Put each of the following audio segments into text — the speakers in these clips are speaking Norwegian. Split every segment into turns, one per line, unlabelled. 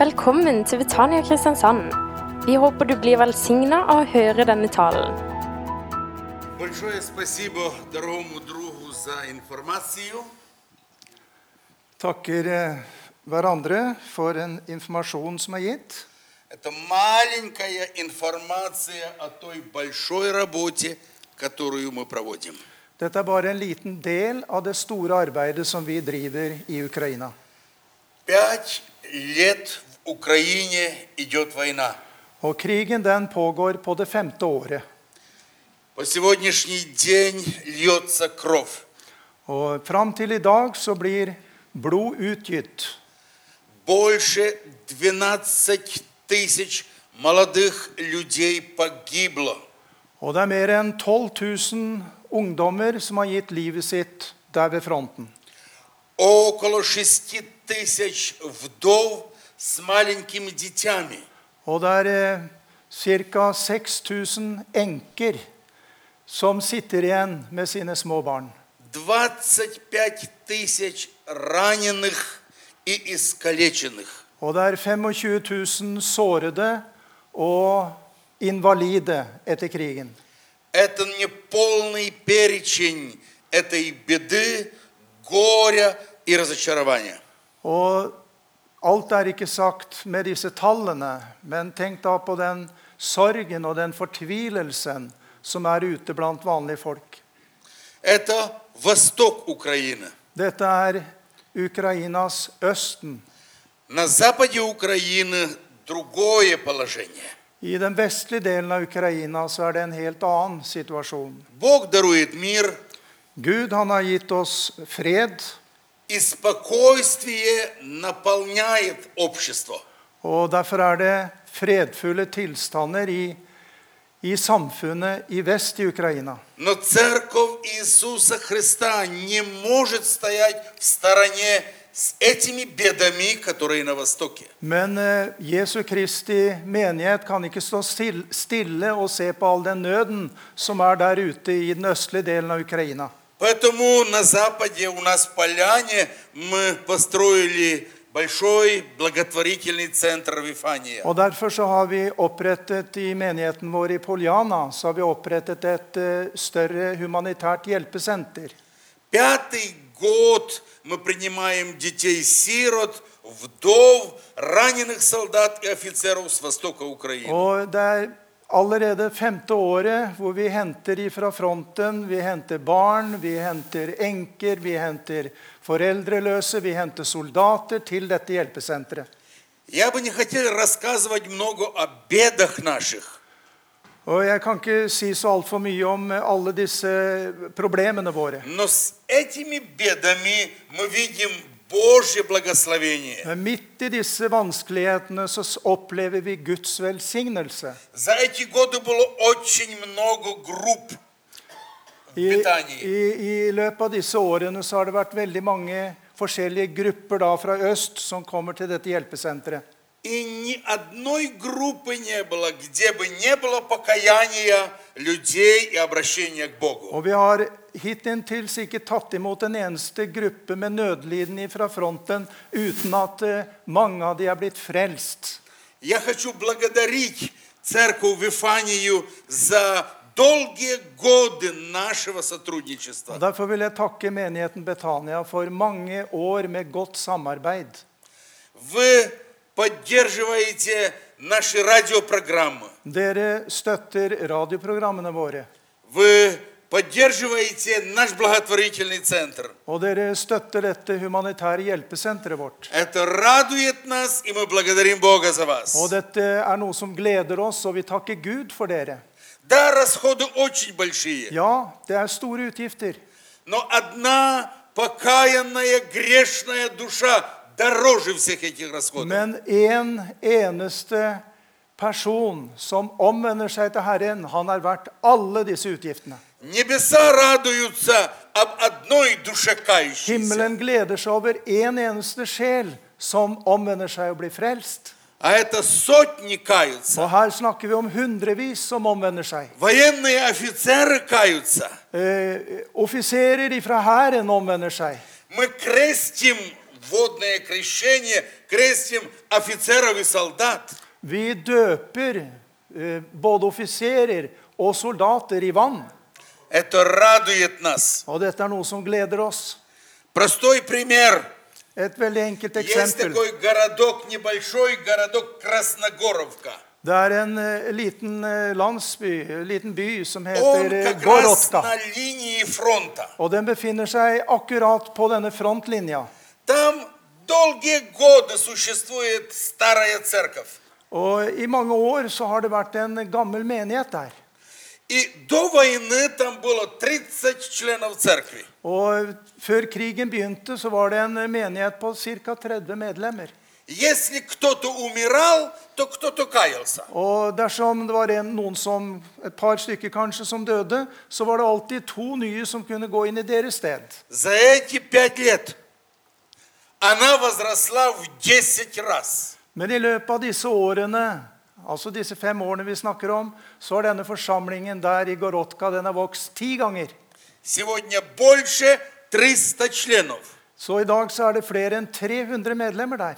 Velkommen til Betania Kristiansand. Vi håper du blir velsigna av å høre denne talen.
Большое спасибо дорогому другу за информацию.
takker eh, hverandre for en informasjon som er gitt.
Это маленькая информация о той большой работе, которую мы проводим.
Dette er bare en liten del av det store arbeidet som vi driver i Ukraina.
Пять лет в Украине идет война.
Og krigen den pågår på det femte året.
По сегодняшний день льется кровь.
Og fram til i dag så blir blod utgitt.
Больше 12 тысяч молодых людей погибло.
Og det er mer enn 12 000 ungdommer som har gitt livet sitt der ved fronten.
Около 6 тысяч вдов с маленькими детьми.
Og det er eh, ca. 6000 enker som sitter igjen med sine små barn.
25 тысяч раненых и искалеченных.
Og det er 25 000 sårede og invalide etter krigen.
Это не полный перечень этой беды, горя и разочарования.
Og alt er ikke sagt med disse tallene, men tenk da på den sorgen og den fortvilelsen som er ute blant vanlige folk.
Это восток Украины.
Dette er Ukrainas Østen.
На западе Украины другое положение.
I den vestlige delen av Ukraina så er det en helt annen situasjon.
Бог дарует мир
Gud han har gitt oss fred,
и спокойствие наполняет общество.
og derfor er det fredfulle tilstander i, i samfunnet i vest i Ukraina.
Но церковь Иисуса Христа не может стоять в стороне с этими бедами, которые на Востоке.
Men eh, Jesu Kristi menighet kan ikke stå still- stille og se på all den nøden som er der ute i den østlige delen av Ukraina.
Поэтому на Западе у нас в Поляне мы построили большой благотворительный центр Вифания.
Og Derfor så har vi opprettet i menigheten vår i Poljana så har vi opprettet et eh, større humanitært hjelpesenter.
Пятый год мы принимаем детей-сирот, вдов, раненых солдат и офицеров с востока Украины.
Og det er allerede femte året hvor vi henter ifra fronten. Vi henter barn, vi henter enker, vi henter foreldreløse, vi henter soldater til dette hjelpesenteret.
Я бы не хотел рассказывать много о бедах наших,
Og jeg kan ikke si så altfor mye om alle disse problemene våre.
Но с этими бедами мы видим Божье благословение.
Men midt i disse vanskelighetene så s- opplever vi Guds velsignelse.
За эти годы было очень много групп
I,
Betania.
i, I løpet av disse årene så har det vært veldig mange forskjellige grupper da fra øst som kommer til dette hjelpesenteret.
И ни одной группы не было, где бы не было покаяния людей и обращения к Богу.
Og vi har hittintils ikke tatt imot en eneste gruppe med nødlidende fra fronten uten at eh, mange av de er blitt frelst.
Я хочу благодарить церковь Вифанию за долгие годы нашего
Og
сотрудничества.
Derfor vil jeg takke menigheten Betania for mange år med godt samarbeid.
Вы поддерживаете наши радиопрограммы.
Dere støtter radioprogrammene våre.
Вы поддерживаете наш благотворительный центр.
Og dere støtter dette humanitære hjelpesenteret vårt.
Это радует нас, и мы благодарим Бога за вас.
Og dette er noe som gleder oss, og vi takker Gud for dere.
Да, расходы очень большие,
Ja, det er store utgifter.
но одна покаянная грешная душа дороже всех этих расходов.
Men en eneste person som omvender seg til Herren, han er verdt alle disse utgiftene.
Небеса радуются об одной душе кающейся.
Himmelen gleder seg over en eneste sjel som omvender seg og blir frelst.
А это сотни каются.
Og her snakker vi om hundrevis som omvender seg.
Военные офицеры каются.
Eh, offiserer ifra hæren omvender seg.
Мы крестим водное крещение, крестим офицеров и солдат.
Vi døper eh, både offiserer og soldater i vann.
Это радует нас.
Og dette er noe som gleder oss.
Простой пример.
Et veldig enkelt
Есть
eksempel.
такой городок, небольшой городок Красногоровка.
Det er en eh, liten eh, landsby, en liten by,
Он
som heter eh,
как раз
Gorotka.
на линии фронта.
Og den befinner seg akkurat på denne frontlinja.
Там долгие годы существует старая церковь.
Og i mange år så har det vært en gammel menighet der.
И до войны там было 30 членов церкви.
Og før krigen begynte, så var det en menighet på ca. 30 medlemmer.
Если кто-то умирал, то кто-то каялся.
Og dersom det var en, noen som, et par stykker kanskje som døde, så var det alltid to nye som kunne gå inn i deres sted.
За эти пять лет она возросла в 10 раз.
Men i løpet av disse årene, altså disse fem årene vi snakker om, så har denne forsamlingen der i Gorotka den har vokst ti ganger.
Сегодня больше 300 членов.
Så i dag så er det flere enn 300 medlemmer der.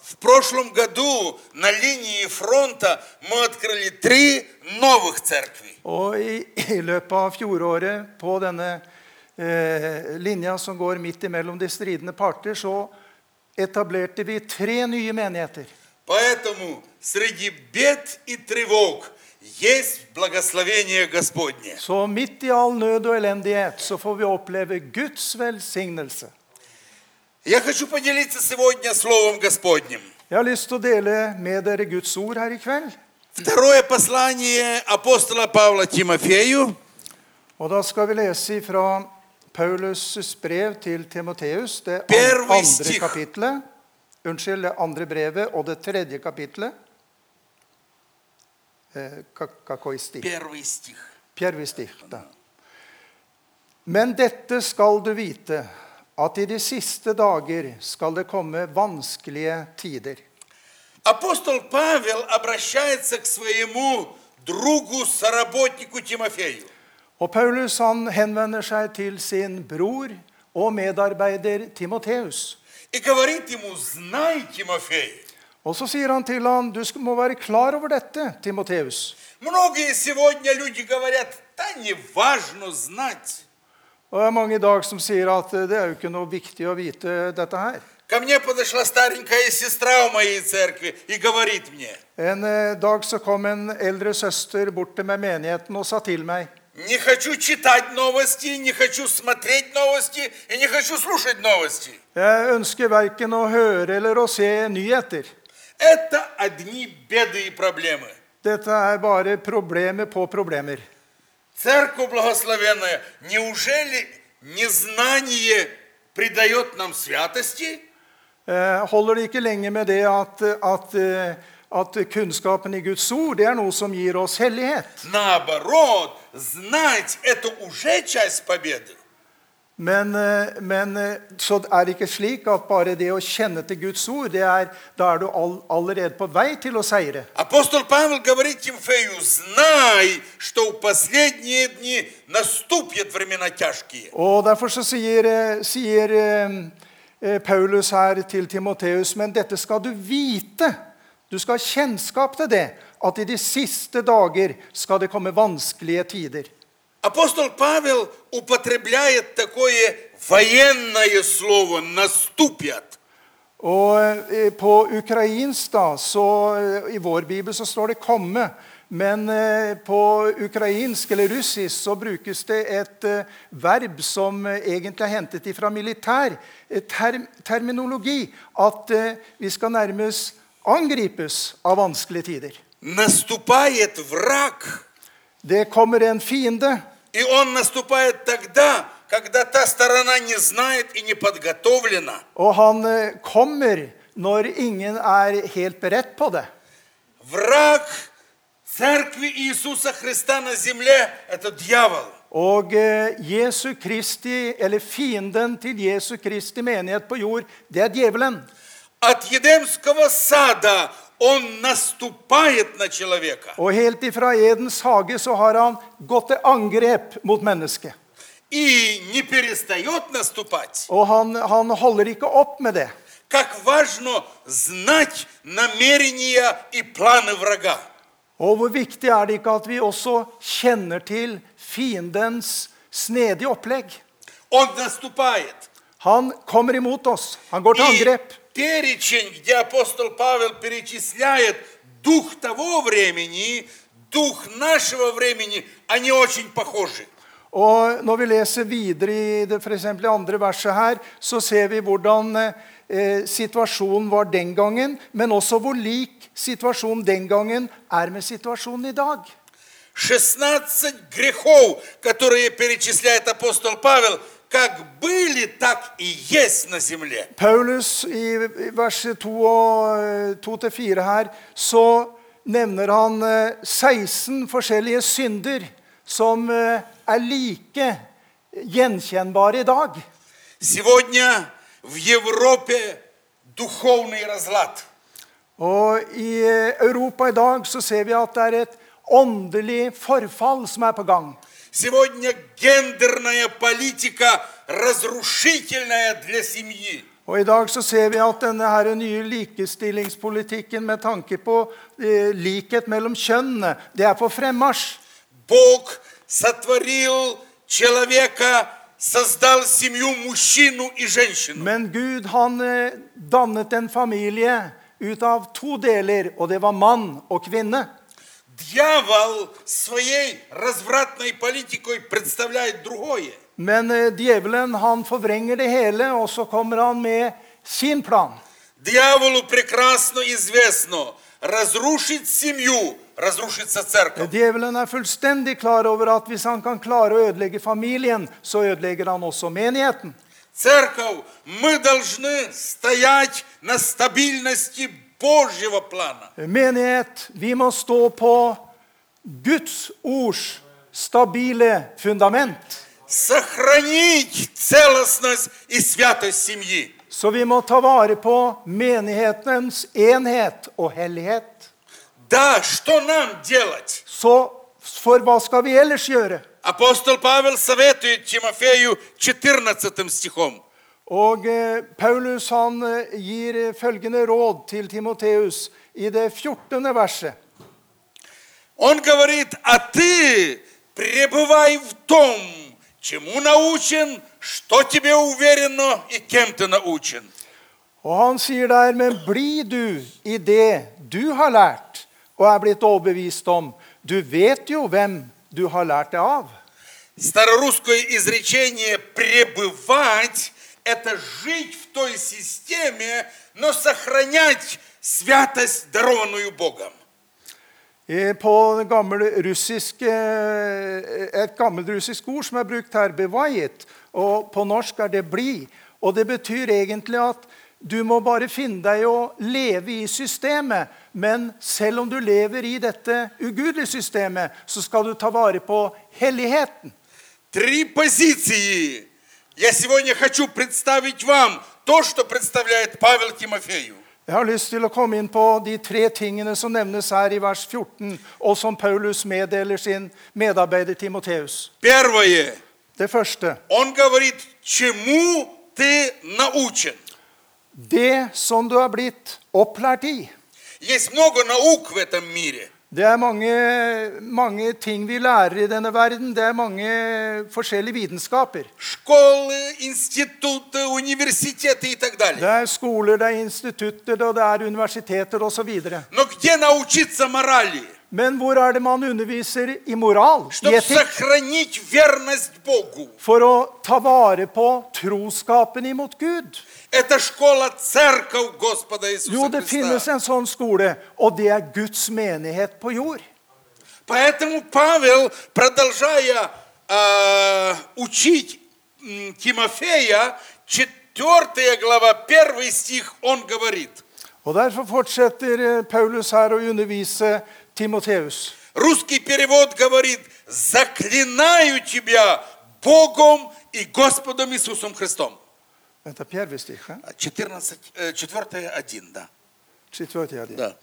В прошлом году на линии фронта мы открыли три новых церкви.
Og i, i løpet av fjoråret, på denne eh, linja som går midt imellom de stridende parter, så etablerte vi tre nye menigheter.
Поэтому среди бед и тревог есть благословение Господне.
Så midt i all nød og elendighet så får vi oppleve Guds velsignelse.
Я хочу поделиться сегодня Словом Господним.
Jeg har lyst til å dele med dere Guds ord her i kveld.
Второе послание апостола Павла Тимофею,
Og da skal vi lese fra Paulus' brev til Timoteus, det
Per
an- andre
Wistig.
kapitlet. Unnskyld, det andre brevet og det tredje kapitlet. Eh, ka- kakoisti.
первый стих.
Pierre Stichte. Men dette skal du vite, at i de siste dager skal det komme vanskelige tider.
Апостол Павел обращается к своему другу, соработнику Тимофею.
Og Paulus han henvender seg til sin bror og medarbeider Timoteus.
И говорит ему, знай, Тимофей,
Og så sier han til han, du sk- må være klar over dette, Timoteus.
многие сегодня люди говорят, да не важно знать.
Og det er mange i dag som sier at eh, det er jo ikke noe viktig å vite dette her.
Ко мне подошла старенькая сестра в моей церкви и говорит мне,
En eh, dag så kom en eldre søster bort til meg i menigheten og sa til meg,
не хочу читать новости, не хочу смотреть новости и не хочу слушать новости.
Jeg ønsker verken å høre eller å se nyheter.
Это одни беды и проблемы.
Dette er bare problemer på problemer.
Церковь благословенная, неужели незнание придает нам святости?
Eh, Holder det ikke lenge med det at, at, eh, at kunnskapen i Guds ord det er noe som gir oss hellighet?
Наоборот, знать это уже часть победы.
Men, eh, men eh, så er det ikke slik at bare det å kjenne til Guds ord, det er, da er du all, allerede på vei til å seire.
Апостол Павел говорит Тимфею, знай, что в последние дни наступят времена тяжкие.
Og derfor så sier, eh, sier eh, eh, Paulus her til Timoteus, men dette skal du vite. Du skal ha kjennskap til det, at i de siste dager skal det komme vanskelige tider.
Апостол Павел употребляет такое военное слово «наступят».
Og eh, på ukrainsk, da, så eh, i vår bibel så står det 'komme'. Men eh, på ukrainsk eller russisk så brukes det et eh, verb som eh, egentlig er hentet fra militær eh, term terminologi. At eh, vi skal nærmest angripes av vanskelige tider.
Наступает враг –
Det kommer en fiende,
И он наступает тогда, когда та сторона не знает и не подготовлена.
og han eh, kommer når ingen er helt beredt på det.
Враг церкви Иисуса Христа на земле – это дьявол.
Og eh, Jesu Kristi, eller fienden til Jesu Kristi menighet på jord, det er djevelen.
От Едемского сада он наступает на человека.
Og helt ifra Edens hage så har han gått til angrep mot mennesket.
И не перестает наступать.
Og han, han holder ikke opp med det.
Как важно знать намерения и планы врага.
Og hvor viktig er det ikke at vi også kjenner til fiendens snedige opplegg?
Он наступает.
Han kommer imot oss. Han går til
И
angrep.
перечень, где апостол Павел перечисляет дух того времени, дух нашего времени, они очень похожи.
Og når vi leser videre i det, for eksempel i andre verset her, så ser vi hvordan eh, eh, situasjonen var den gangen, men også hvor lik situasjonen den gangen er med situasjonen i dag.
16 грехов, которые перечисляет апостол Павел, как были, так и есть на земле.
Paulus i i vers eh, 2-4 her, så nevner han eh, 16 forskjellige synder som eh, er like gjenkjennbare i dag.
Сегодня в Европе духовный разлад.
Og i eh, Europa i dag så ser vi at det er et åndelig forfall som er på gang.
Сегодня гендерная политика разрушительная для семьи.
Og i dag så ser vi at denne her nye likestillingspolitikken med tanke på eh, likhet mellom kjønnene, det er på fremmarsj.
Бог сотворил человека, создал семью мужчину и женщину.
Men Gud han eh, dannet en familie ut av to deler, og det var mann og kvinne.
Дьявол своей развратной политикой представляет другое.
Men eh, djevelen han forvrenger det hele, og så kommer han med sin plan.
Дьяволу прекрасно известно, разрушить семью, разрушится церковь.
Eh, Djevelen er fullstendig klar over at hvis han kan klare å ødelegge familien, så ødelegger han også menigheten.
Церковь, мы должны стоять на стабильности Божьего плана.
Eh, Menighet, vi må stå på Guds ords stabile fundament.
Сохранить целостность и святость семьи.
Så vi må ta vare på menighetens enhet og hellighet.
Да, что нам делать?
Så for hva skal vi ellers gjøre?
Апостол Павел советует Тимофею 14 стихом.
Og eh, Paulus han eh, gir eh, følgende råd til Timoteus i det 14. verset.
Он говорит, а ты пребывай в том, чему научен, что тебе уверено и кем ты научен.
Og han sier der, men bli du i det du har lært og er blitt overbevist om. Du vet jo hvem du har lært det av.
Старорусское изречение «пребывать» – это жить в той системе, но сохранять святость, дарованную Богом.
Eh, På det gamle russiske, eh, et gammelt russisk ord som er brukt her, 'bevayet', og på norsk er det 'bli'. Og det betyr egentlig at du må bare finne deg i å leve i systemet. Men selv om du lever i dette ugudelige systemet, så skal du ta vare på helligheten.
Три позиции. Я сегодня хочу представить вам то, что представляет Павел Тимофею.
Jeg har lyst til å komme inn på de tre tingene som nevnes her i vers 14, og som Paulus meddeler sin medarbeider Timoteus.
Первое.
Det første
Он говорит, чему ты научен.
det som du har blitt opplært i.
Есть много наук в этом мире.
Det er mange, mange ting vi lærer i denne verden. Det er mange forskjellige vitenskaper.
Школы, институты, университеты и так
Det
далее.
er skoler, det er institutter, og det er universiteter osv.
Но где научиться морали?
Men hvor er det man underviser i moral? I
Чтобы
etikk?
сохранить верность Богу.
For å ta vare på troskapen imot Gud.
Это школа церковь Господа
Jo,
Иисуса
det finnes
Христа.
en sånn skole, og det er Guds menighet på jord.
Поэтому Павел, продолжая э, учить м, Тимофея, 4 глава, 1 стих, он говорит,
Og Derfor fortsetter eh, Paulus her å undervise Timoteus.
русский перевод говорит, заклинаю тебя Богом и Господом Иисусом Христом.
Dette er Pierre Wistich, hæ?
А 14, 4, 1, э, да.
Четвертый один.
да.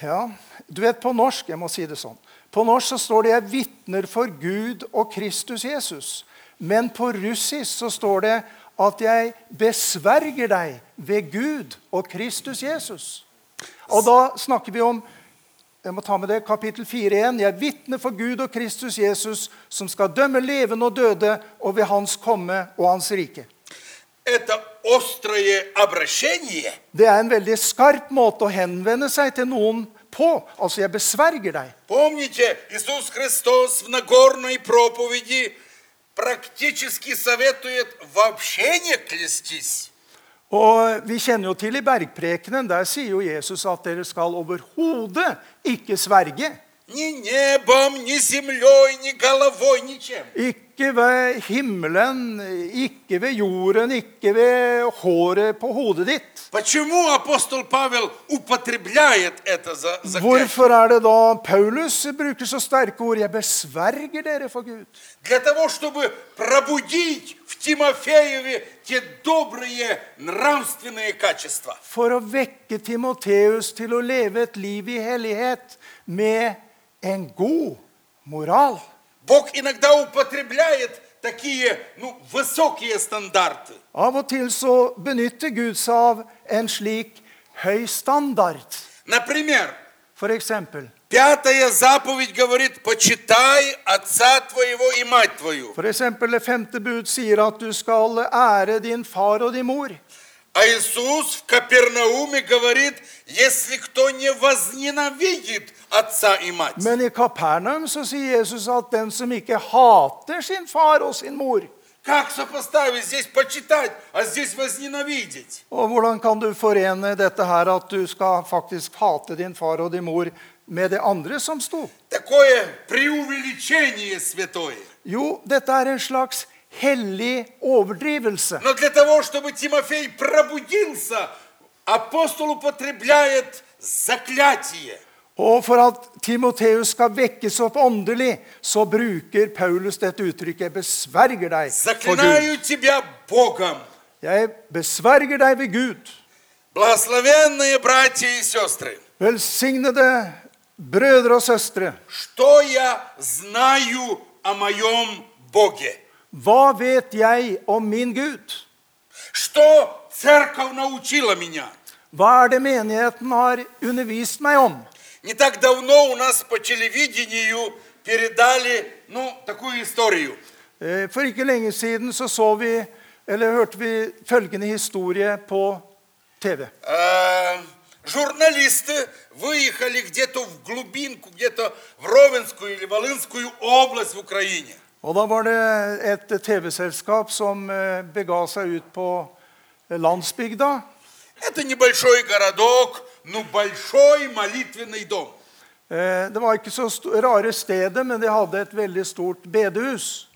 Ja, du vet på norsk, jeg må si det sånn. På norsk så står det 'Jeg vitner for Gud og Kristus Jesus'. Men på russisk så står det at jeg besverger deg ved Gud og Kristus Jesus. Og da snakker vi om jeg må ta med det, kapittel 4.1. Jeg vitner for Gud og Kristus Jesus, som skal dømme levende og døde, og ved Hans komme og Hans rike.
Это острое обращение
Det er en veldig skarp måte å henvende seg til noen på. Altså, jeg besverger deg.
Помните, Иисус Христос в Нагорной проповеди практически советует вообще не клястись.
Og Vi kjenner jo til i bergprekenen, der sier jo Jesus at dere skal overhodet ikke sverge.
Ни небом, ни землей, ни головой, ничем.
Ikke ved himmelen, ikke ved jorden, ikke ved håret på hodet ditt.
Почему апостол Павел употребляет это за заклятие?
Hvorfor er det da Paulus bruker så sterke ord? 'Jeg besverger dere for Gud'.
Для того, чтобы пробудить в Тимофееве те добрые нравственные качества.
For å vekke Timoteus til å leve et liv i hellighet med en god moral.
Бог иногда употребляет такие ну, высокие стандарты.
Av og til så benytter Gud seg av en slik høy standard.
Например,
For eksempel,
пятая заповедь говорит, почитай отца твоего и мать твою.
for eksempel det femte bud sier at du skal ære din far og din mor.
А Иисус в Капернауме говорит, если кто не возненавидит отца и мать.
Men i Kapernaum så sier Jesus at den som ikke hater sin far og sin mor
Как сопоставить здесь почитать, а здесь возненавидеть?
Og hvordan kan du forene dette her at du skal faktisk hate din far og din mor med det andre som sto?
Такое преувеличение святое.
Jo, dette er en slags hellig overdrivelse.
Но для того, чтобы Тимофей пробудился, апостол употребляет заклятие.
Og for at Timoteus skal vekkes opp åndelig, så bruker Paulus dette uttrykket 'Jeg besverger deg for Gud'.
Заклинаю тебя Богом.
Jeg besverger deg ved Gud.
Благословенные братья и сестры,
Velsignede brødre og søstre,
что я знаю о моем Боге?
hva vet jeg om min Gud?
Что церковь научила меня?
Hva er det menigheten har undervist meg om?
Не так давно у нас по телевидению передали, ну, такую историю.
Eh, For ikke lenge siden så, så vi, eller hørte vi følgende historie på TV.
Э, Журналисты выехали где-то в глубинку, где-то в Ровенскую или Волынскую область в Украине.
Og da var det et TV-selskap som eh, bega seg ut på eh, landsbygda.
Это небольшой городок, но большой молитвенный дом.
Eh, Det var ikke så sto- rare stedet, men de hadde et veldig stort bedehus.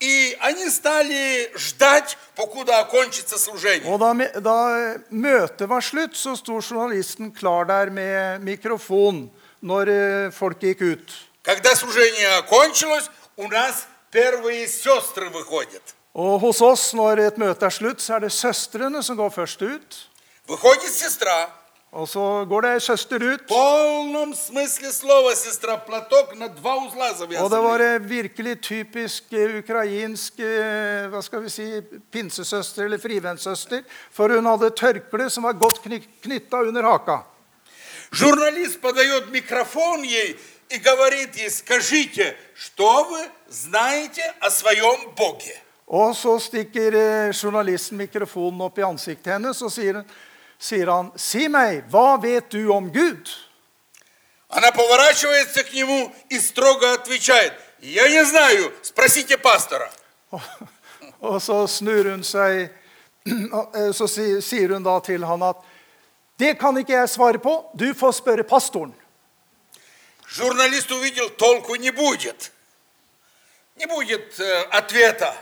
И они стали ждать, покуда окончится служение.
Og da, me- da eh, møtet var slutt, så sto journalisten klar der med mikrofon når eh, folk gikk ut.
Когда служение окончилось, у нас первые сестры выходят.
Og hos oss, når et møte er slutt, så er det søstrene som går først ut.
Выходит сестра,
Og så går det ei søster
в
ut.
полном смысле слова сестра, платок на два узла
Og det var
завязанный.
en virkelig typisk eh, ukrainsk eh, hva skal vi si, pinsesøster eller frivennsøster. For hun hadde et tørkle som var godt knytta under haka.
Журналист подает микрофон ей и говорит ей, скажите, что вы знаете о своем Боге?
Og så stikker eh, journalisten mikrofonen opp i ansiktet hennes og sier, sier han, 'Si meg, hva vet du om Gud?'
Она поворачивается к нему и строго отвечает, я не знаю, спросите пастора.
Og, og så snur hun seg og, eh, Så si- sier hun da til han at 'Det kan ikke jeg svare på. Du får spørre pastoren.'
Журналист увидел, толку не будет. Не будет э, ответа.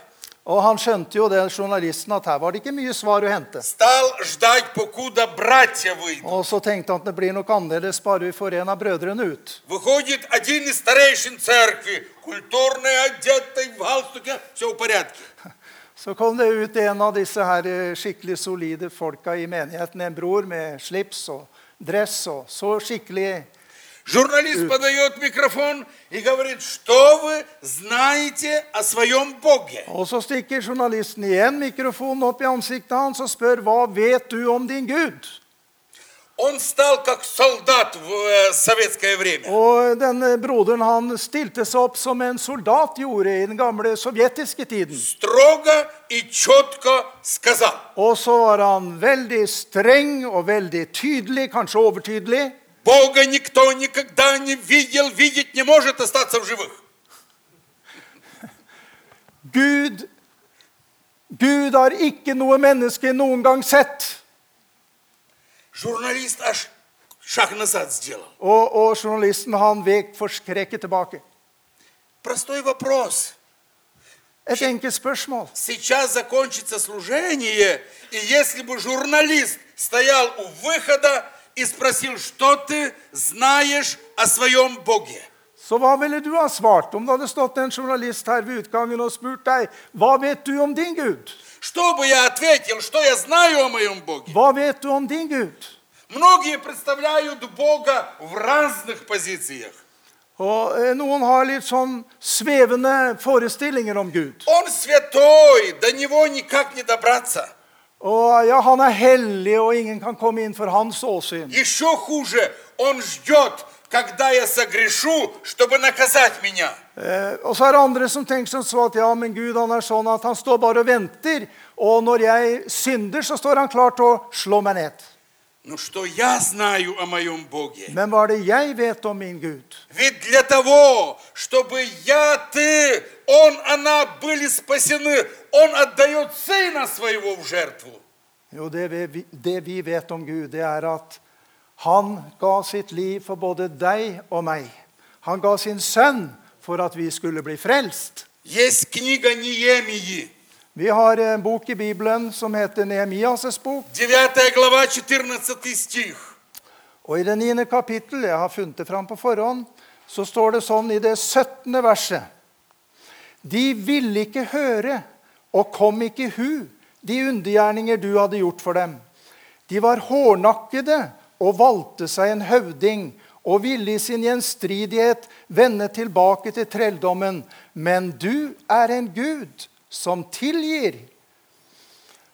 Og han skjønte jo det, journalisten, at her var det ikke mye svar å hente.
Стал ждать, покуда братья выйдут.
Og så tenkte han at det blir nok annerledes bare vi får en av brødrene ut.
Выходит один из старейшин церкви, культурный, одетый, в галстуке, все в порядке.
Så kom det ut en av disse her eh, skikkelig solide folka i menigheten. En bror med slips og dress og så skikkelig
Журналист подает микрофон и говорит, что вы знаете о своем Боге.
Og så stikker journalisten igjen mikrofonen opp i ansiktet hans og spør hva vet du om din Gud?
Он стал как солдат в э, советское время.
Og denne broderen han stilte seg opp som en soldat gjorde i den gamle sovjetiske tiden.
Строго и четко сказал,
Og så var han veldig streng og veldig tydelig, kanskje overtydelig.
Бога никто никогда не видел, видеть не может, остаться в живых.
Gud, Gud har ikke noe menneske noen gang sett.
Журналист аж шаг назад сделал.
Og, og journalisten han vek forskrekket tilbake.
Простой вопрос.
Et enkelt spørsmål.
Сейчас закончится служение, и если бы журналист стоял у выхода и спросил, что ты знаешь о своем Боге?
Så hva ville du ha svart om det hadde stått en journalist her ved utgangen og spurt deg hva vet du om din Gud?
Что бы я ответил, что я знаю о моем Боге?
Hva vet du om din Gud?
Многие представляют Бога в разных позициях.
Og eh, Noen har litt sånn svevende forestillinger om Gud.
Он святой, до него никак не добраться.
Og ja, Han er hellig, og ingen kan komme inn for hans åsyn.
Еще хуже, он ждет, когда я согрешу, чтобы наказать меня.
Eh, og så er det andre som tenker som så at ja, men Gud han er sånn at han står bare og venter. Og når jeg synder, så står han klar til å slå meg ned.
Но что я знаю о моем Боге?
Men hva er det jeg vet om min Gud?
Ведь для того, чтобы я, ты, он, она были спасены, он отдает сына своего в жертву.
Jo, det vi, det vi vet om Gud, det er at han ga sitt liv for både deg og meg. Han ga sin sønn for at vi skulle bli frelst.
Есть книга Неемии,
Vi har en bok i Bibelen som heter Nehemias' bok.
9 глава, 14 стих.
Og i det niende kapittel, jeg har funnet det fram på forhånd, så står det sånn i det 17. verset. De ville ikke høre og kom ikke i hu de undergjerninger du hadde gjort for dem. De var hårnakkede og valgte seg en høvding og ville i sin gjenstridighet vende tilbake til trelldommen. Men du er en gud som tilgir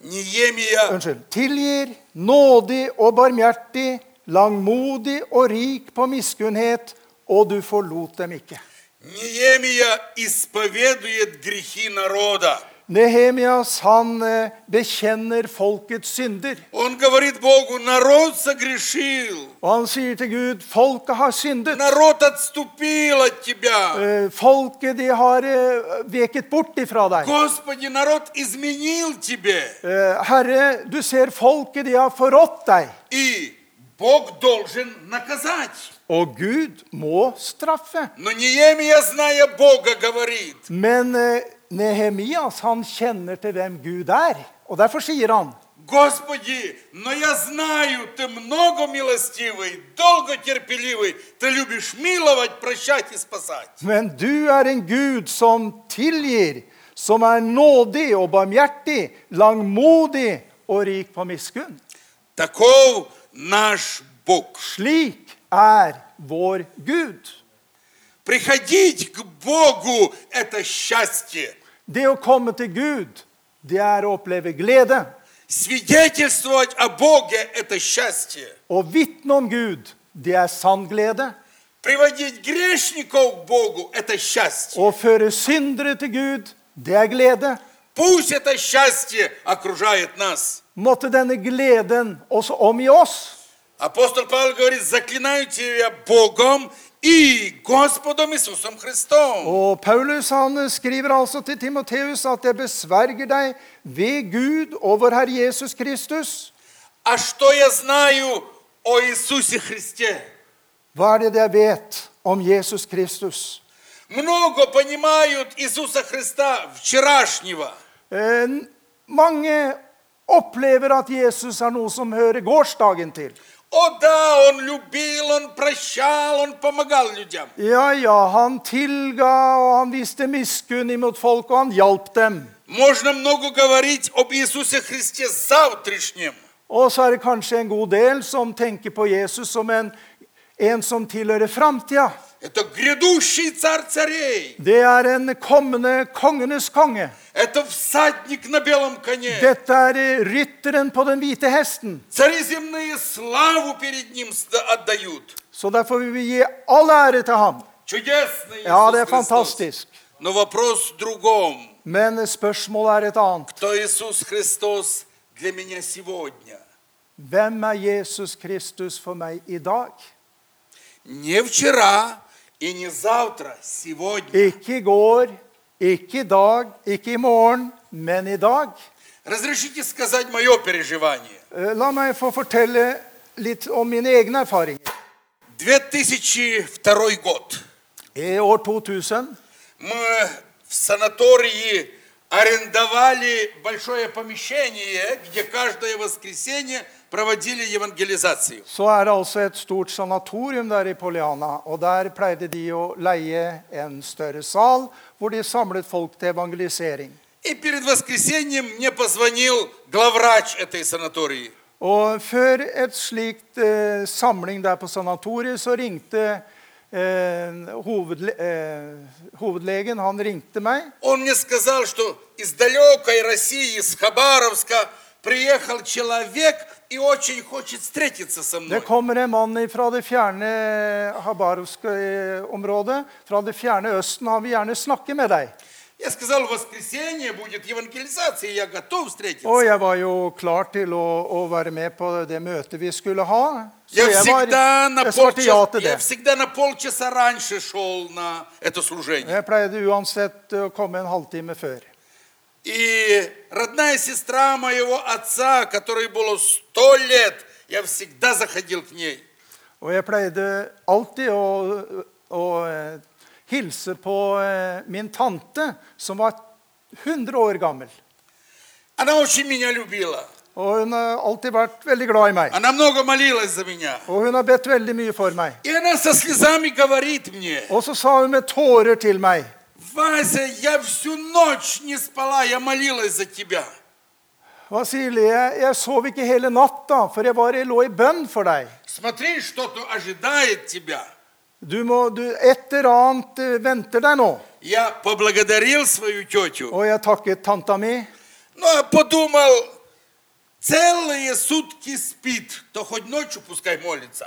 Неемия
Unnskyld. Tilgir, nådig og barmhjertig, langmodig og rik på miskunnhet, og du forlot dem ikke.
Неемия исповедует грехи народа.
Nehemias han eh, bekjenner folkets synder.
Он говорит Богу, народ согрешил,
Og han sier til Gud, folket har syndet.
народ отступил от Тебя.
Eh, Folket de har eh, veket bort ifra deg.
Господи, народ изменил Тебе.
Eh, Herre, du ser folket de har forrådt deg.
И Бог должен наказать.
Og Gud må straffe.
Но Неемия, зная Бога, говорит,
Men eh, Nehemias han kjenner til hvem Gud er. Og derfor sier han
Господи, но я знаю, Ты много милостивый, долго терпеливый, Ты любишь миловать, прощать и спасать.
Men du er en Gud som tilgir, som er nådig og barmhjertig, langmodig og rik på miskunn.
Таков наш Бог.
Slik er vår Gud.
Приходить к Богу – это счастье.
Det å komme til Gud, det er å oppleve glede.
Свидетельствовать о Боге – это счастье.
Å vitne om Gud, det er sann glede.
Приводить грешников к Богу – это счастье.
Å føre syndere til Gud, det er glede.
Пусть это счастье окружает нас.
Måtte denne gleden også omgi oss.
Апостол Павел говорит, заклинаю тебя Богом и Господом Иисусом Христом.
Og Paulus han skriver altså til Timoteus at jeg besverger deg ved Gud og vår Herre Jesus Kristus.
А что я знаю о Иисусе Христе?
Hva er det jeg vet om Jesus Kristus?
Много понимают Иисуса Христа вчерашнего.
Eh, mange opplever at Jesus er noe som hører gårsdagen til.
О да, он любил, он прощал, он помогал людям.
Ja, ja, han tilga, og han viste miskunn imot folk, og han hjalp dem.
Можно много говорить об Иисусе Христе завтрашнем.
Og så er det kanskje en god del som tenker på Jesus som en En som tilhører framtida.
Это грядущий царь царей.
Det er en kommende kongenes konge.
Это всадник на белом коне.
Dette er eh, rytteren på den hvite hesten.
Цари земные славу перед ним сда- отдают.
Så derfor vil vi gi all ære til ham.
Чудесный
Ja,
Иисус
det er
Христос.
fantastisk.
Но вопрос в другом.
Men spørsmålet er et annet.
Кто Иисус Христос для меня сегодня?
Hvem er Jesus Kristus for meg i dag?
Не вчера и не завтра, сегодня.
Ikke i går, ikke i dag, ikke i morgen, men i dag.
Разрешите сказать мое переживание.
Eh, La meg få fortelle litt om mine egne erfaringer.
2002 год.
I år 2000
Мы в санатории арендовали большое помещение, где каждое воскресенье проводили евангелизацию.
så er det altså et stort sanatorium der i Poliana. Og der pleide de å leie en større sal hvor de samlet folk til evangelisering.
И перед воскресеньем мне позвонил главврач этой санатории.
Og før et slikt eh, samling der på sanatoriet, så ringte eh, hovedle, eh, hovedlegen han ringte meg.
Он мне сказал, что из далекой России, из Хабаровска, приехал человек и очень хочет встретиться со
Det
мной.
kommer en mann fra det fjerne habarovske eh, området, fra det fjerne Østen. Han vil gjerne snakke med deg.
Я сказал, в воскресенье будет евангелизация, и я готов встретиться.
Og jeg var jo klar til å, å være med på det møtet vi skulle ha. Så
Я
jeg,
всегда,
var,
на
jeg svarte ja
полчаса,
til det.
я всегда на полчаса ranьше шел на это служение.
Jeg pleide uansett å komme en halvtime før.
И родная сестра моего отца, которой было сто лет, я всегда заходил к ней.
Og jeg pleide alltid å, å eh, hilse på eh, min tante, som var 100 år gammel.
Она очень меня любила.
Og hun har alltid vært veldig glad i meg.
Она много молилась за меня.
Og hun har bedt veldig mye for meg.
И она со слезами говорит мне,
Og så sa hun med tårer til meg
Вася, я всю ночь не спала, я молилась за тебя.
Vasili, jeg, jeg sov ikke hele natta, for jeg bare lå i bønn for deg.
Смотри, что-то ожидает тебя.
Du må, du, Et eller annet eh, venter deg nå.
Я поблагодарил свою тетю.
Og jeg takket tanta mi.
Ну, а подумал, целые сутки спит, то хоть ночью пускай молится.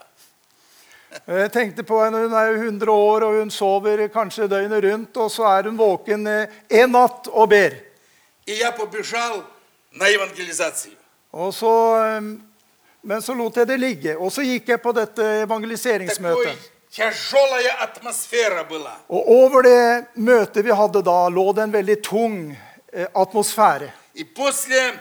Og Eh, Jeg tenkte på henne, Hun er jo 100 år, og hun sover kanskje døgnet rundt. Og så er hun våken eh, en natt og ber.
И я побежал на евангелизацию.
Og så, eh, men så lot jeg det ligge. Og så gikk jeg på dette
Такой
evangeliseringsmøtet.
тяжелая атмосфера была.
Og over det møtet vi hadde da, lå det en veldig tung eh, atmosfære.
И после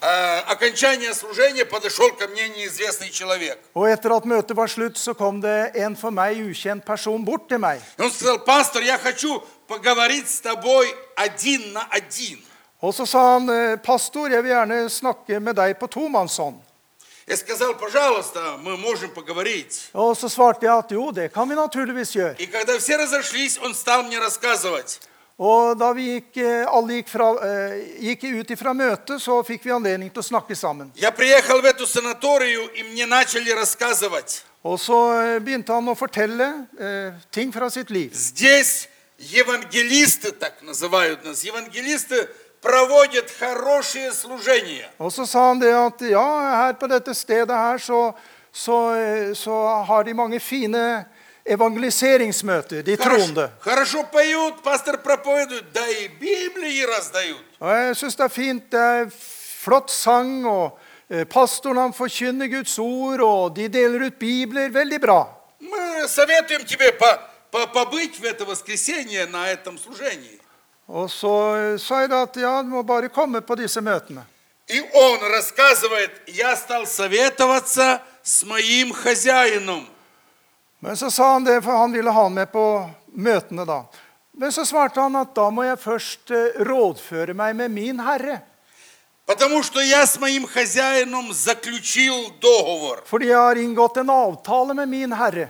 э, окончания служения подошел ко мне неизвестный человек.
Og etter at møtet var slutt, så kom det en for meg ukjent person bort til meg.
И он сказал, пастор, я хочу поговорить с тобой один на один.
Og så sa han, eh, 'Pastor, jeg vil gjerne snakke med deg på tomannshånd'.
Я сказал, пожалуйста, мы можем поговорить.
Og så svarte jeg at jo, det kan vi naturligvis gjøre.
И когда все разошлись, он стал мне рассказывать.
Og da vi gikk, eh, alle gikk, fra, eh, gikk ut ifra møtet, så fikk vi anledning til å snakke sammen.
Я приехал в эту санаторию, и мне начали рассказывать.
Og så eh, begynte han å fortelle eh, ting fra sitt liv.
Здесь евангелисты, так называют нас, евангелисты проводят хорошие служения.
Og så sa han det at ja, her på dette stedet her så, så, eh, så har de mange fine evangeliseringsmøter, de troende.
Хорошо, хорошо поют, пастор проповедует, да и Библии раздают.
Og jeg syns det er fint. Det er flott sang, og eh, pastoren han forkynner Guds ord, og de deler ut bibler. Veldig bra.
Мы советуем тебе по- по- побыть в это воскресенье на этом служении.
Og så eh, sa jeg da at ja, du må bare komme på disse møtene.
И он рассказывает, я стал советоваться с моим хозяином.
Men så sa han det, for han ville ha han med på møtene da. Men så svarte han at da må jeg først eh, rådføre meg med min herre.
Потому что я с моим хозяином заключил договор.
Fordi jeg har inngått en avtale med min herre.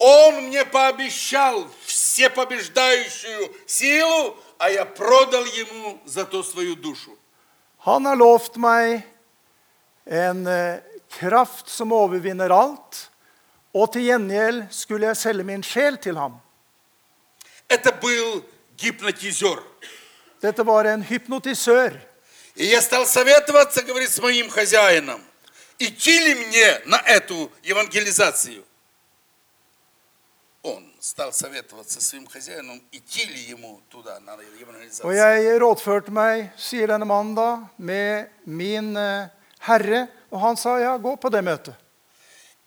Он мне пообещал всепобеждающую силу, а я продал ему зато свою душу.
Han har lovt meg en eh, kraft som overvinner alt, Og til gjengjeld skulle jeg selge min sjel til ham.
Это был гипнотизер.
Dette var en hypnotisør.
И я стал советоваться, говорит, с моим хозяином. Идти ли мне на эту евангелизацию? Он стал советоваться с своим хозяином, идти ли ему туда на
Og
евангелизацию.
jeg rådførte meg, sier denne mannen da, med min eh, herre. Og han sa ja, gå på det møtet.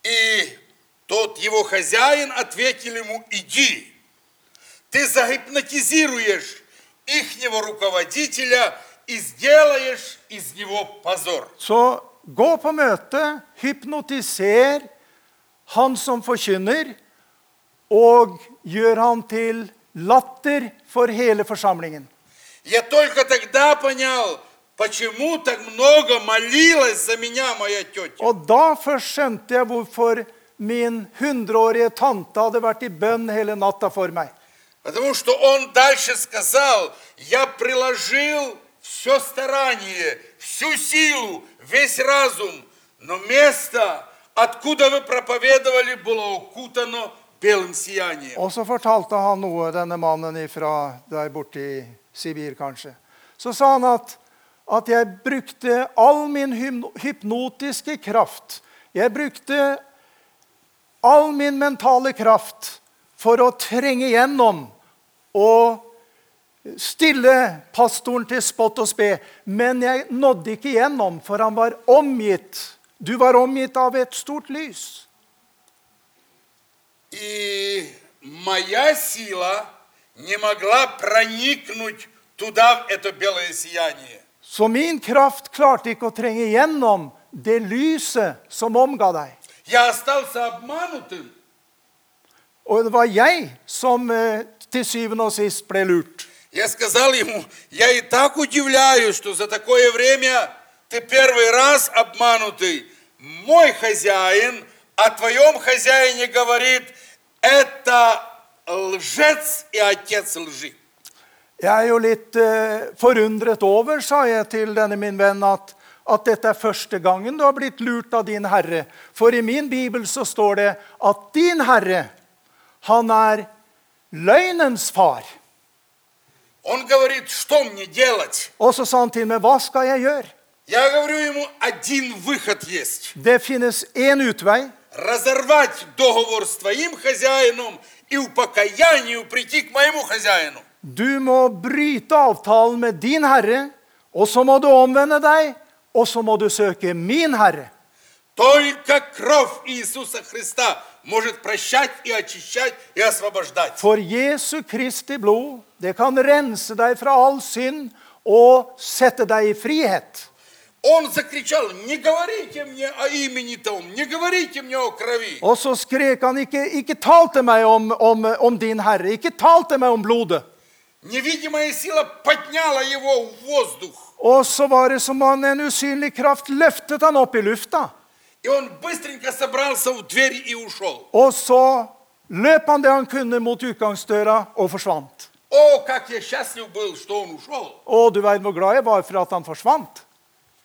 И тот его хозяин ответил ему, иди, ты загипнотизируешь ихнего руководителя и сделаешь из него позор.
Så gå på møtet, hypnotiser han som forkynner, og gjør han til latter for hele forsamlingen.
Я только тогда понял, почему так много молилась за меня моя тетя.
Og da først skjønte jeg hvorfor min hundreårige tante hadde vært i bønn hele natta for meg.
Потому что он дальше сказал, я приложил все старание, всю силу, весь разум, но место, откуда вы проповедовали, было укутано белым сиянием.
Og så fortalte han noe, denne mannen fra der borte i Sibir, kanskje. Så sa han at, at jeg brukte all min hym- hypnotiske kraft. Jeg brukte all min mentale kraft for å trenge gjennom og stille pastoren til spott og spe. Men jeg nådde ikke gjennom, for han var omgitt. Du var omgitt av et stort lys.
И моя сила не могла проникнуть туда, в это белое сияние.
Så min kraft klarte ikke å trenge gjennom det lyset som omga deg.
Я остался обманутым.
Og det var jeg som eh, til syvende og sist ble lurt.
Я сказал ему, я и так удивляюсь, что за такое время ты первый раз обманутый. Мой хозяин о твоем хозяине говорит, это лжец и отец лжи.
Jeg er jo litt eh, forundret over, sa jeg til denne min venn, at, at dette er første gangen du har blitt lurt av din herre. For i min bibel så står det at din herre, han er løgnens far.
Он говорит, что мне делать?
Og så sa han til meg, hva skal jeg gjøre?
Я говорю ему, один выход есть.
Det finnes én utvei.
Разорвать договор с твоим хозяином и в покаянию прийти к моему хозяину.
Du må bryte avtalen med din herre, og så må du omvende deg, og så må du søke min herre.
Только кровь Иисуса Христа может прощать и очищать и освобождать.
For Jesu Kristi blod, det kan rense deg fra all synd og sette deg i frihet.
Он закричал, не говорите мне о имени том, не говорите мне о крови.
Og så skrek han, ikke, ikke tal til meg om, om, om din herre, ikke tal til meg om blodet.
Невидимая сила подняла его в воздух.
Og så var det som om en usynlig kraft løftet han opp i lufta.
И он быстренько собрался в дверь и ушел.
Og så løp han det han kunne mot utgangsdøra og forsvant.
О, как я счастлив был, что он ушел.
Og du veit hvor glad jeg var for at han forsvant.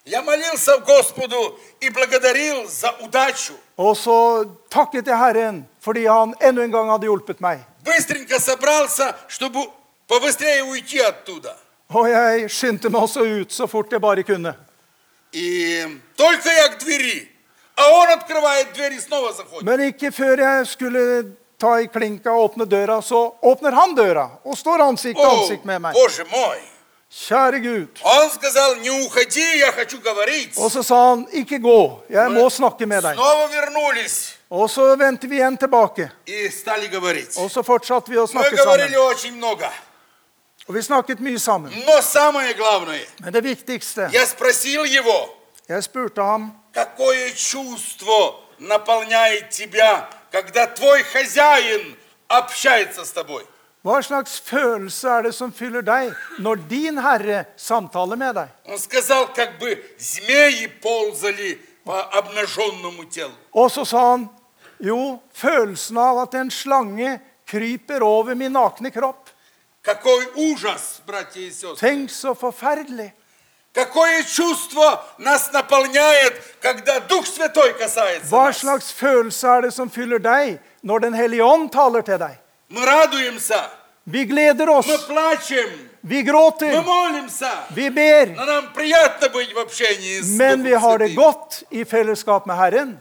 Я молился Господу и благодарил за удачу.
Og så takket jeg Herren fordi han enda en gang hadde hjulpet meg.
Быстренько собрался, чтобы побыстрее уйти оттуда.
Og jeg skyndte meg også ut så fort jeg bare kunne.
И только я к двери, а он открывает дверь и снова заходит.
Men ikke før jeg skulle ta i klinka og åpne døra, så åpner han døra og står ansikt til
О,
ansikt med meg.
боже мой!
Kjære Gud.
Он сказал, не уходи, я хочу говорить.
Og så sa han, 'Ikke gå, jeg må snakke med deg'.
Снова вернулись
Og så vendte vi igjen tilbake.
и стали говорить.
Og så fortsatte vi å
Мы
snakke
говорили
sammen.
очень много.
Og vi snakket mye sammen.
Но самое главное,
Men det viktigste
я спросил его,
Jeg spurte ham
какое чувство наполняет тебя, когда твой хозяин общается с тобой?
Hva slags følelse er det som fyller deg når din herre samtaler med deg?
Он сказал, как бы змеи ползали по обнаженному телу.
Og så sa han, jo, følelsen av at en slange kryper over min nakne kropp.
Какой ужас, братья и сестры!
Tenk så forferdelig.
Какое чувство нас наполняет, когда Дух Святой касается
Hva
нас?
slags følelse er det som fyller deg når Den hellige ånd taler til deg?
Мы радуемся,
Vi gleder oss,
мы плачем, мы
vi gråter,
молимся.
vi ber,
Но нам приятно быть в общении с
men
Духом
vi har det
Святым.
godt i fellesskap med Herren.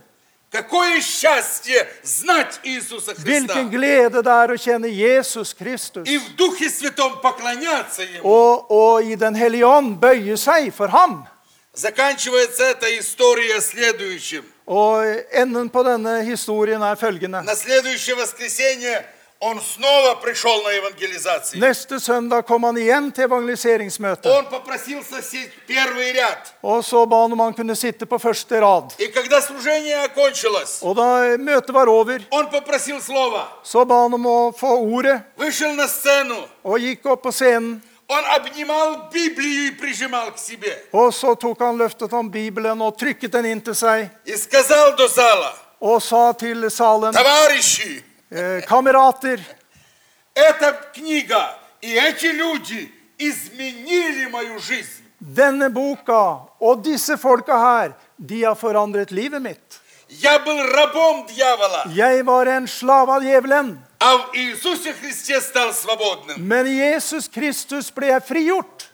Какое счастье знать Иисуса Христа
Hvilken glede det er å kjenne Jesus Kristus
и в Духе Святом поклоняться Ему.
og, og i Den hellige ånd bøye seg for ham.
Заканчивается эта история следующим.
Og enden på denne historien er følgende.
На следующее воскресенье он снова пришел на евангелизацию.
Neste søndag kom han igjen til evangeliseringsmøtet.
Он попросил сесть первый rяд.
Og så ba han om han kunne sitte på første rad.
И когда slужение окончилось,
Og da møtet var over,
он pопросил слова.
så ba han om å få ordet,
Вышел на сцену.
og gikk opp på scenen.
Он обнимал Библию и прижимал к себе.
Og så tok han løftet om Bibelen og trykket den inn til seg
И сказал до зала,
og sa til salen,
товарищи,
eh, kamerater,
эта книга и эти люди изменили мою жизнь.
denne boka og disse folka her, de har forandret livet mitt.
Я был рабом дьявола,
Jeg var en slave av djevelen,
а в Иисусе Христе стал свободным.
men i Jesus Kristus ble jeg frigjort.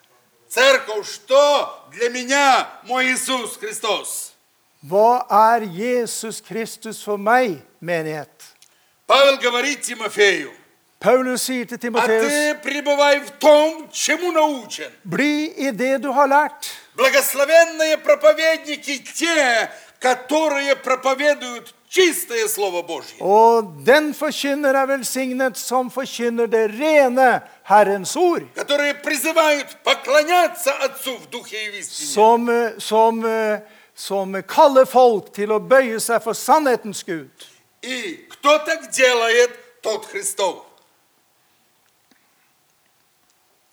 Церковь, что для меня мой Иисус Христос?
Hva er Jesus Kristus for meg, menighet?
Павел говорит Тимофею,
Paulus sier til
а
Timoteus,
ты пребывай в том, чему научен.
bli i det du har lært.
Благословенные проповедники те, которые проповедуют чистое Слово Божье.
Og den forkynner er velsignet som forkynner det rene Herrens ord.
которые призывают поклоняться Отцу в Духе и в истине.
Som, eh, som, eh, som kaller folk til å bøye seg for sannhetens Gud.
И кто так делает, тот Христов.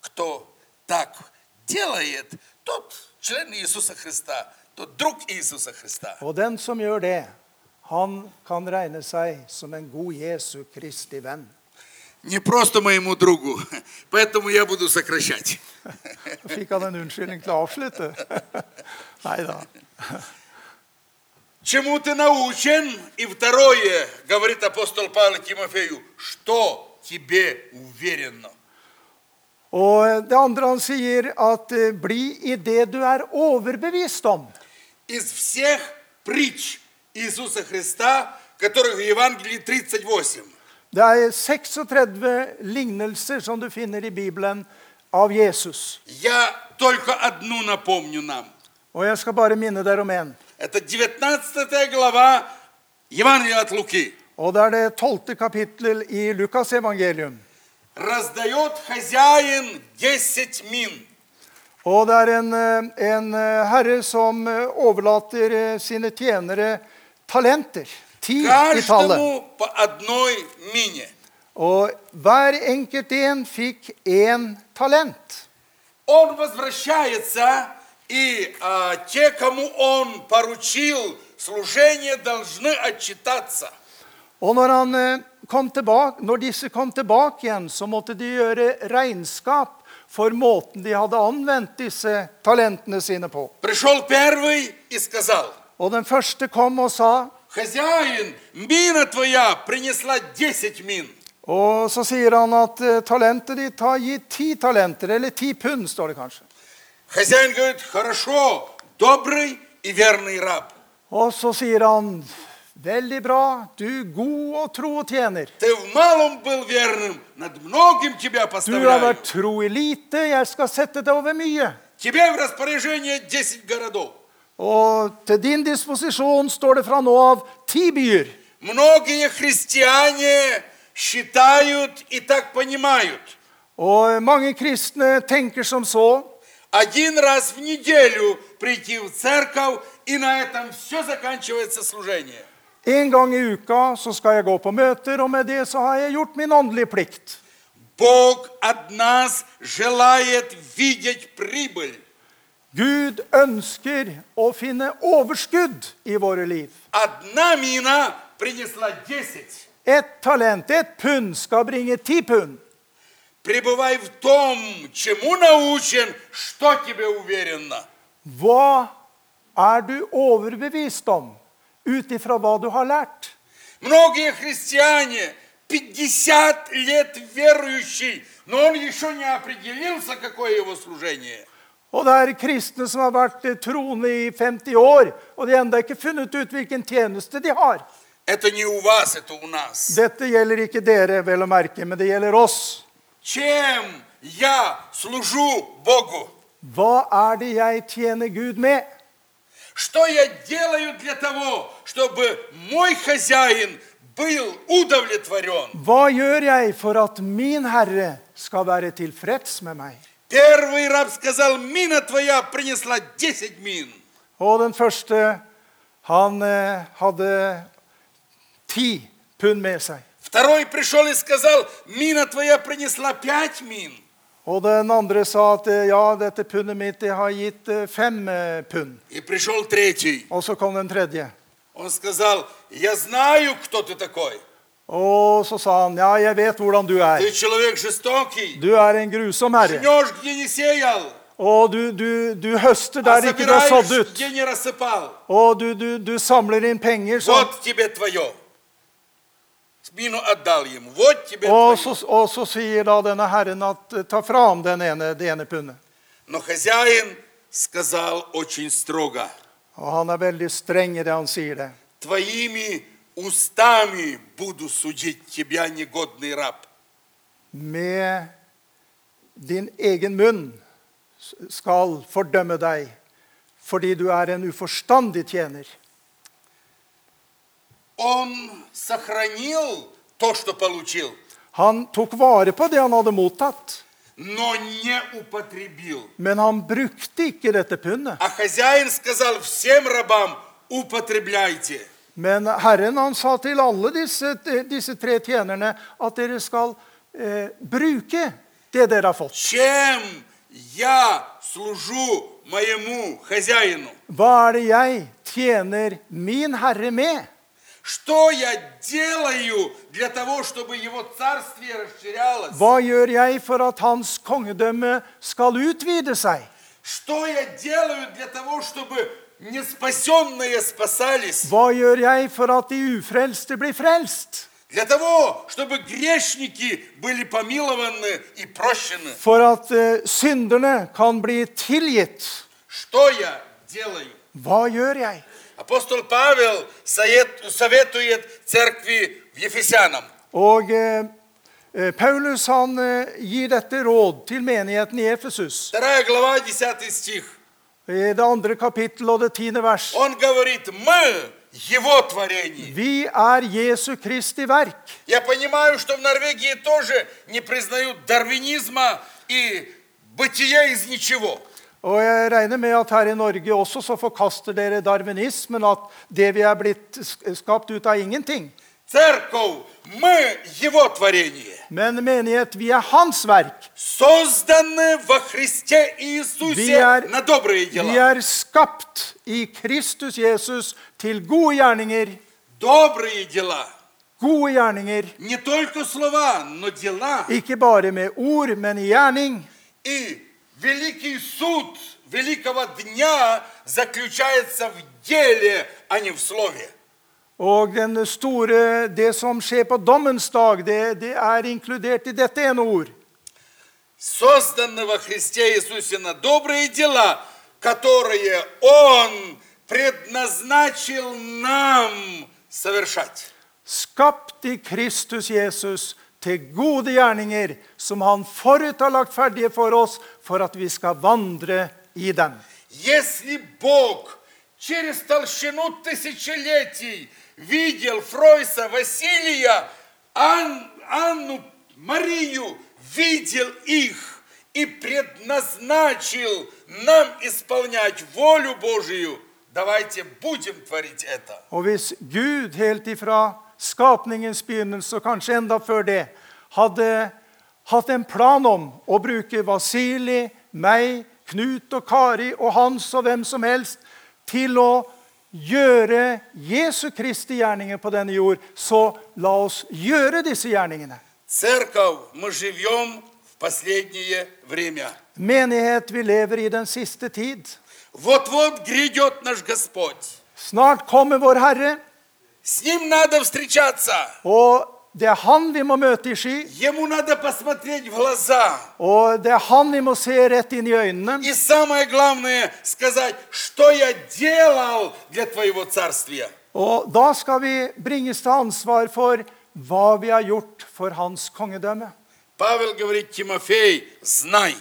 Кто так делает, тот член Иисуса Христа, тот друг Иисуса Христа.
Og den som gjør det, han kan regne seg som en god Jesu Kristi venn.
Не просто моему другу, поэтому я буду сокращать.
Så fikk han en unnskyldning til å avslutte. Nei da.
Чему ты научен? И второе, говорит апостол Павел Тимофею, что тебе уверенно.
Og det andre han sier, at eh, bli i det du er overbevist om.
из всех притч Иисуса Христа, которых в Евангелии 38.
Det er 36 lignelser som du finner i Bibelen av Jesus.
Я только одну напомню нам.
Og jeg skal bare minne dere om én.
Это 19 глава Евангелия от Луки.
Og det er det tolvte kapittel i Lukas evangelium.
Раздает хозяин 10 мин.
Og det er en, eh, en eh, herre som eh, overlater eh, sine tjenere talenter. Ti i tallet.
Каждому по одной мине.
Og hver enkelt en fikk én talent.
Он возвращается, и а, те, кому он поручил служение, должны отчитаться.
Og når, han eh, kom tilbake, når disse kom tilbake igjen, så måtte de gjøre regnskap for måten de hadde anvendt disse talentene sine på.
Пришел первый и сказал,
Og den første kom og sa,
Хозяин, мина твоя принесла 10 мин.
og så sier han at eh, talentet ditt har gitt ti talenter, eller ti pund, står det kanskje.
Хозяин говорит, хорошо, добрый и верный раб.
Og så sier han, veldig bra, du god og tro og tjener.
Ты в малом был верным, над многим тебя
Du har
поставляю.
vært tro i lite, jeg skal sette deg over mye.
Тебе в распоряжение 10 городов.
Og til din disposisjon står det fra nå av ti byer.
Многие христиане считают и так понимают.
Og mange kristne tenker som så
Один раз в неделю прийти в церковь, и на этом все заканчивается служение.
En gang i uka så skal jeg gå på møter, og med det så har jeg gjort min åndelige plikt.
Бог от нас желает видеть прибыль.
Gud ønsker å finne overskudd i våre liv.
Одна мина принесла 10.
Ett talent, ett pund, skal bringe ti pund.
Пребывай в том, чему научен, что тебе уверенно.
Hva er du overbevist om ut ifra hva du har lært?
Многие христиане 50 лет верующий, но он еще не определился, какое его служение.
Og det er kristne som har vært troende i 50 år, og de har ennå ikke funnet ut hvilken tjeneste de har.
Это не у вас, это у нас.
Dette gjelder ikke dere, vel å merke, men det gjelder oss.
Чем я служу Богу?
Hva er det jeg tjener Gud med?
Что я делаю для того, чтобы мой хозяин был удовлетворен?
Hva gjør jeg for at min Herre skal være tilfreds med meg?
Первый раб сказал, мина твоя принесла 10 мин.
Og den første, han eh, hadde ti pund med seg.
Второй пришел и сказал, мина твоя принесла 5 мин.
Og den andre sa at eh, ja, dette pundet mitt det har gitt eh, fem eh, pund.
И пришел третий.
Og så kom den tredje.
Он сказал, я знаю, кто ты такой.
Og så sa han, ja, jeg vet hvordan du er.
Ты человек жестокий.
Du er en grusom herre.
Жнешь, где не сеял,
Og du, du, du høster
а
der ikke du har sådd
собираешь,
ut.
где не рассыпал.
Og du, du, du samler inn penger sånn.
Вот тебе твое. Мину отдал ему. Вот тебе
Og
твое.
så, og så sier da denne herren at eh, ta fra ham den ene, det ene pundet.
Но хозяин сказал очень строго.
Og han er veldig streng i det han sier det.
Твоими устами буду судить тебя, негодный раб.
Med din egen munn s- skal fordømme deg, fordi du er en uforstandig tjener.
Он сохранил то, что получил,
Han tok vare på det han hadde mottatt,
но не употребил.
men han brukte ikke dette pundet.
А хозяин сказал всем рабам, употребляйте.
Men Herren han sa til alle disse, disse tre tjenerne at dere skal eh, bruke det dere har fått.
Чем я служу моему хозяину?
Hva er det jeg tjener min herre med?
Что я делаю для того, чтобы его царствие расширялось?
Hva gjør jeg for at hans kongedømme skal utvide seg?
Что я делаю для того, чтобы неспасенные спасались?
Hva gjør jeg for at de ufrelste blir frelst?
Для того, чтобы грешники были помилованы и прощены.
For at eh, synderne kan bli tilgitt?
Что я делаю?
Hva gjør jeg?
Апостол Павел совет- советует церкви в Ефесянам.
Og eh, eh, Paulus han eh, gir dette råd til menigheten i Efesus.
Вторая глава, 10 стих.
I det andre kapittel og det tiende vers.
Он говорит, мы его творение.
Vi er Jesu Kristi verk.
Я понимаю, что в Норвегии тоже не признают дарвинизма и бытия из ничего.
Og jeg regner med at her i Norge også så forkaster dere darwinismen, at det vi er blitt sk- skapt ut av ingenting.
Церковь, мы его творение.
Men menighet, vi er hans verk.
Созданы во Христе
Vi
Иисусе
er,
на добрые
vi
дела.
er skapt i Kristus Jesus til gode gjerninger.
Добрые дела.
Gode gjerninger.
Не только слова, но дела.
Ikke bare med ord, men i gjerning.
И великий суд великого дня заключается в деле, а не в слове.
Og den store, det som skjer på dommens dag, det, det er inkludert i dette ene ord.
Созданы во Христе Иисусе на добрые дела, которые Он предназначил нам совершать.
Skapt i Kristus Jesus til gode gjerninger, som han forut har lagt ferdige for oss, for at vi skal vandre i dem.
Если Бог через толщину тысячелетий видел Фройса Василия, Ан- Анну, Марию, видел их и предназначил нам исполнять волю Божию, давайте будем творить это.
Og hvis Gud helt ifra skapningens begynnelse, og kanskje enda før det, hadde hatt en plan om å bruke Vasili, meg, Knut og Kari og Hans og hvem som helst til å gjøre Jesu Kristi gjerninger på denne jord, så la oss gjøre disse gjerningene.
Церковь, мы живем в последнее время.
Menighet, vi lever i den siste tid.
Вот-вот грядет наш Господь.
Snart kommer vår Herre,
С Ним надо встречаться.
og det er Han vi må møte i sky.
Ему надо посмотреть в глаза.
Og det er Han vi må se rett inn i øynene.
И самое главное сказать, что я делал для твоего царствия.
Og da skal vi bringes til ansvar for hva vi har gjort for Hans kongedømme.
Павел говорит, Тимофей, знай.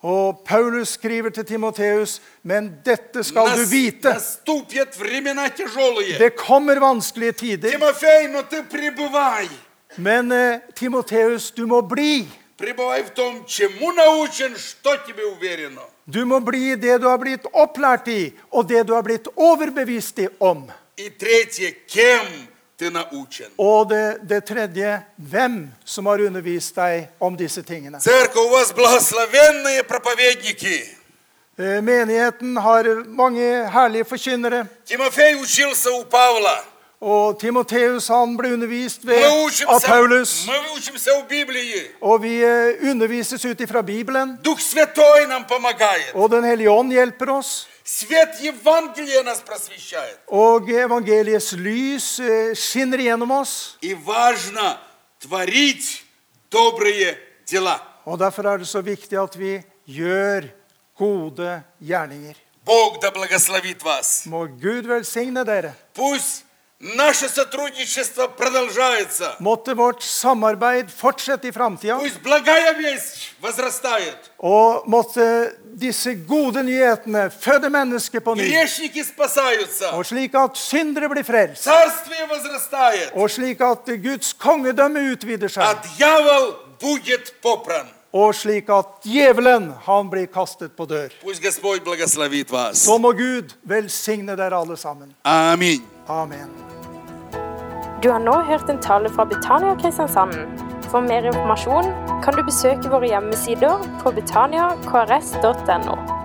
Og Paulus skriver til Timoteus, men dette skal du
нас-
vite.
Наступят времена тяжелые.
Det kommer vanskelige tider,
Тимофей, но ты пребывай.
men eh, Timoteus, du må bli.
Пребывай в том, чему научен, что тебе уверено.
Du må bli i det du har blitt opplært i, og det du har blitt overbevist i om.
И третье, кем ты научен.
Og det, det tredje hvem som har undervist deg om disse tingene.
Церковь, у вас благословенные проповедники.
Eh, Menigheten har mange herlige forkynnere.
Тимофей учился у Павла.
Og Timoteus han ble undervist ved,
Мы
av Paulus.
учимся, мы учимся у Библии.
Og vi eh, undervises ut ifra Bibelen.
Дух Святой нам помогает.
Og Den hellige ånd hjelper oss.
Свет Евангелия нас просвещает.
Og evangeliets lys eh, skinner gjennom oss.
И важно творить добрые дела.
Og Derfor er det så viktig at vi gjør gode gjerninger.
Бог да благословит вас.
Må Gud velsigne dere.
Пусть наше сотрудничество продолжается.
Måtte vårt samarbeid fortsette i framtida.
Пусть благая весть возрастает.
Og måtte disse gode nyhetene føde mennesker på ny.
Грешники спасаются.
Og slik at syndere blir frelst.
Царствие возрастает.
Og slik at Guds kongedømme utvider
А
seg.
дьявол будет попран.
Og slik at djevelen, han blir kastet på dør.
Пусть Господь благословит вас.
Så må Gud velsigne dere alle sammen.
Аминь.
Amen.
Du har nå hørt en tale fra Betania Kristiansand. For mer informasjon kan du besøke våre hjemmesider på betaniakrs.no.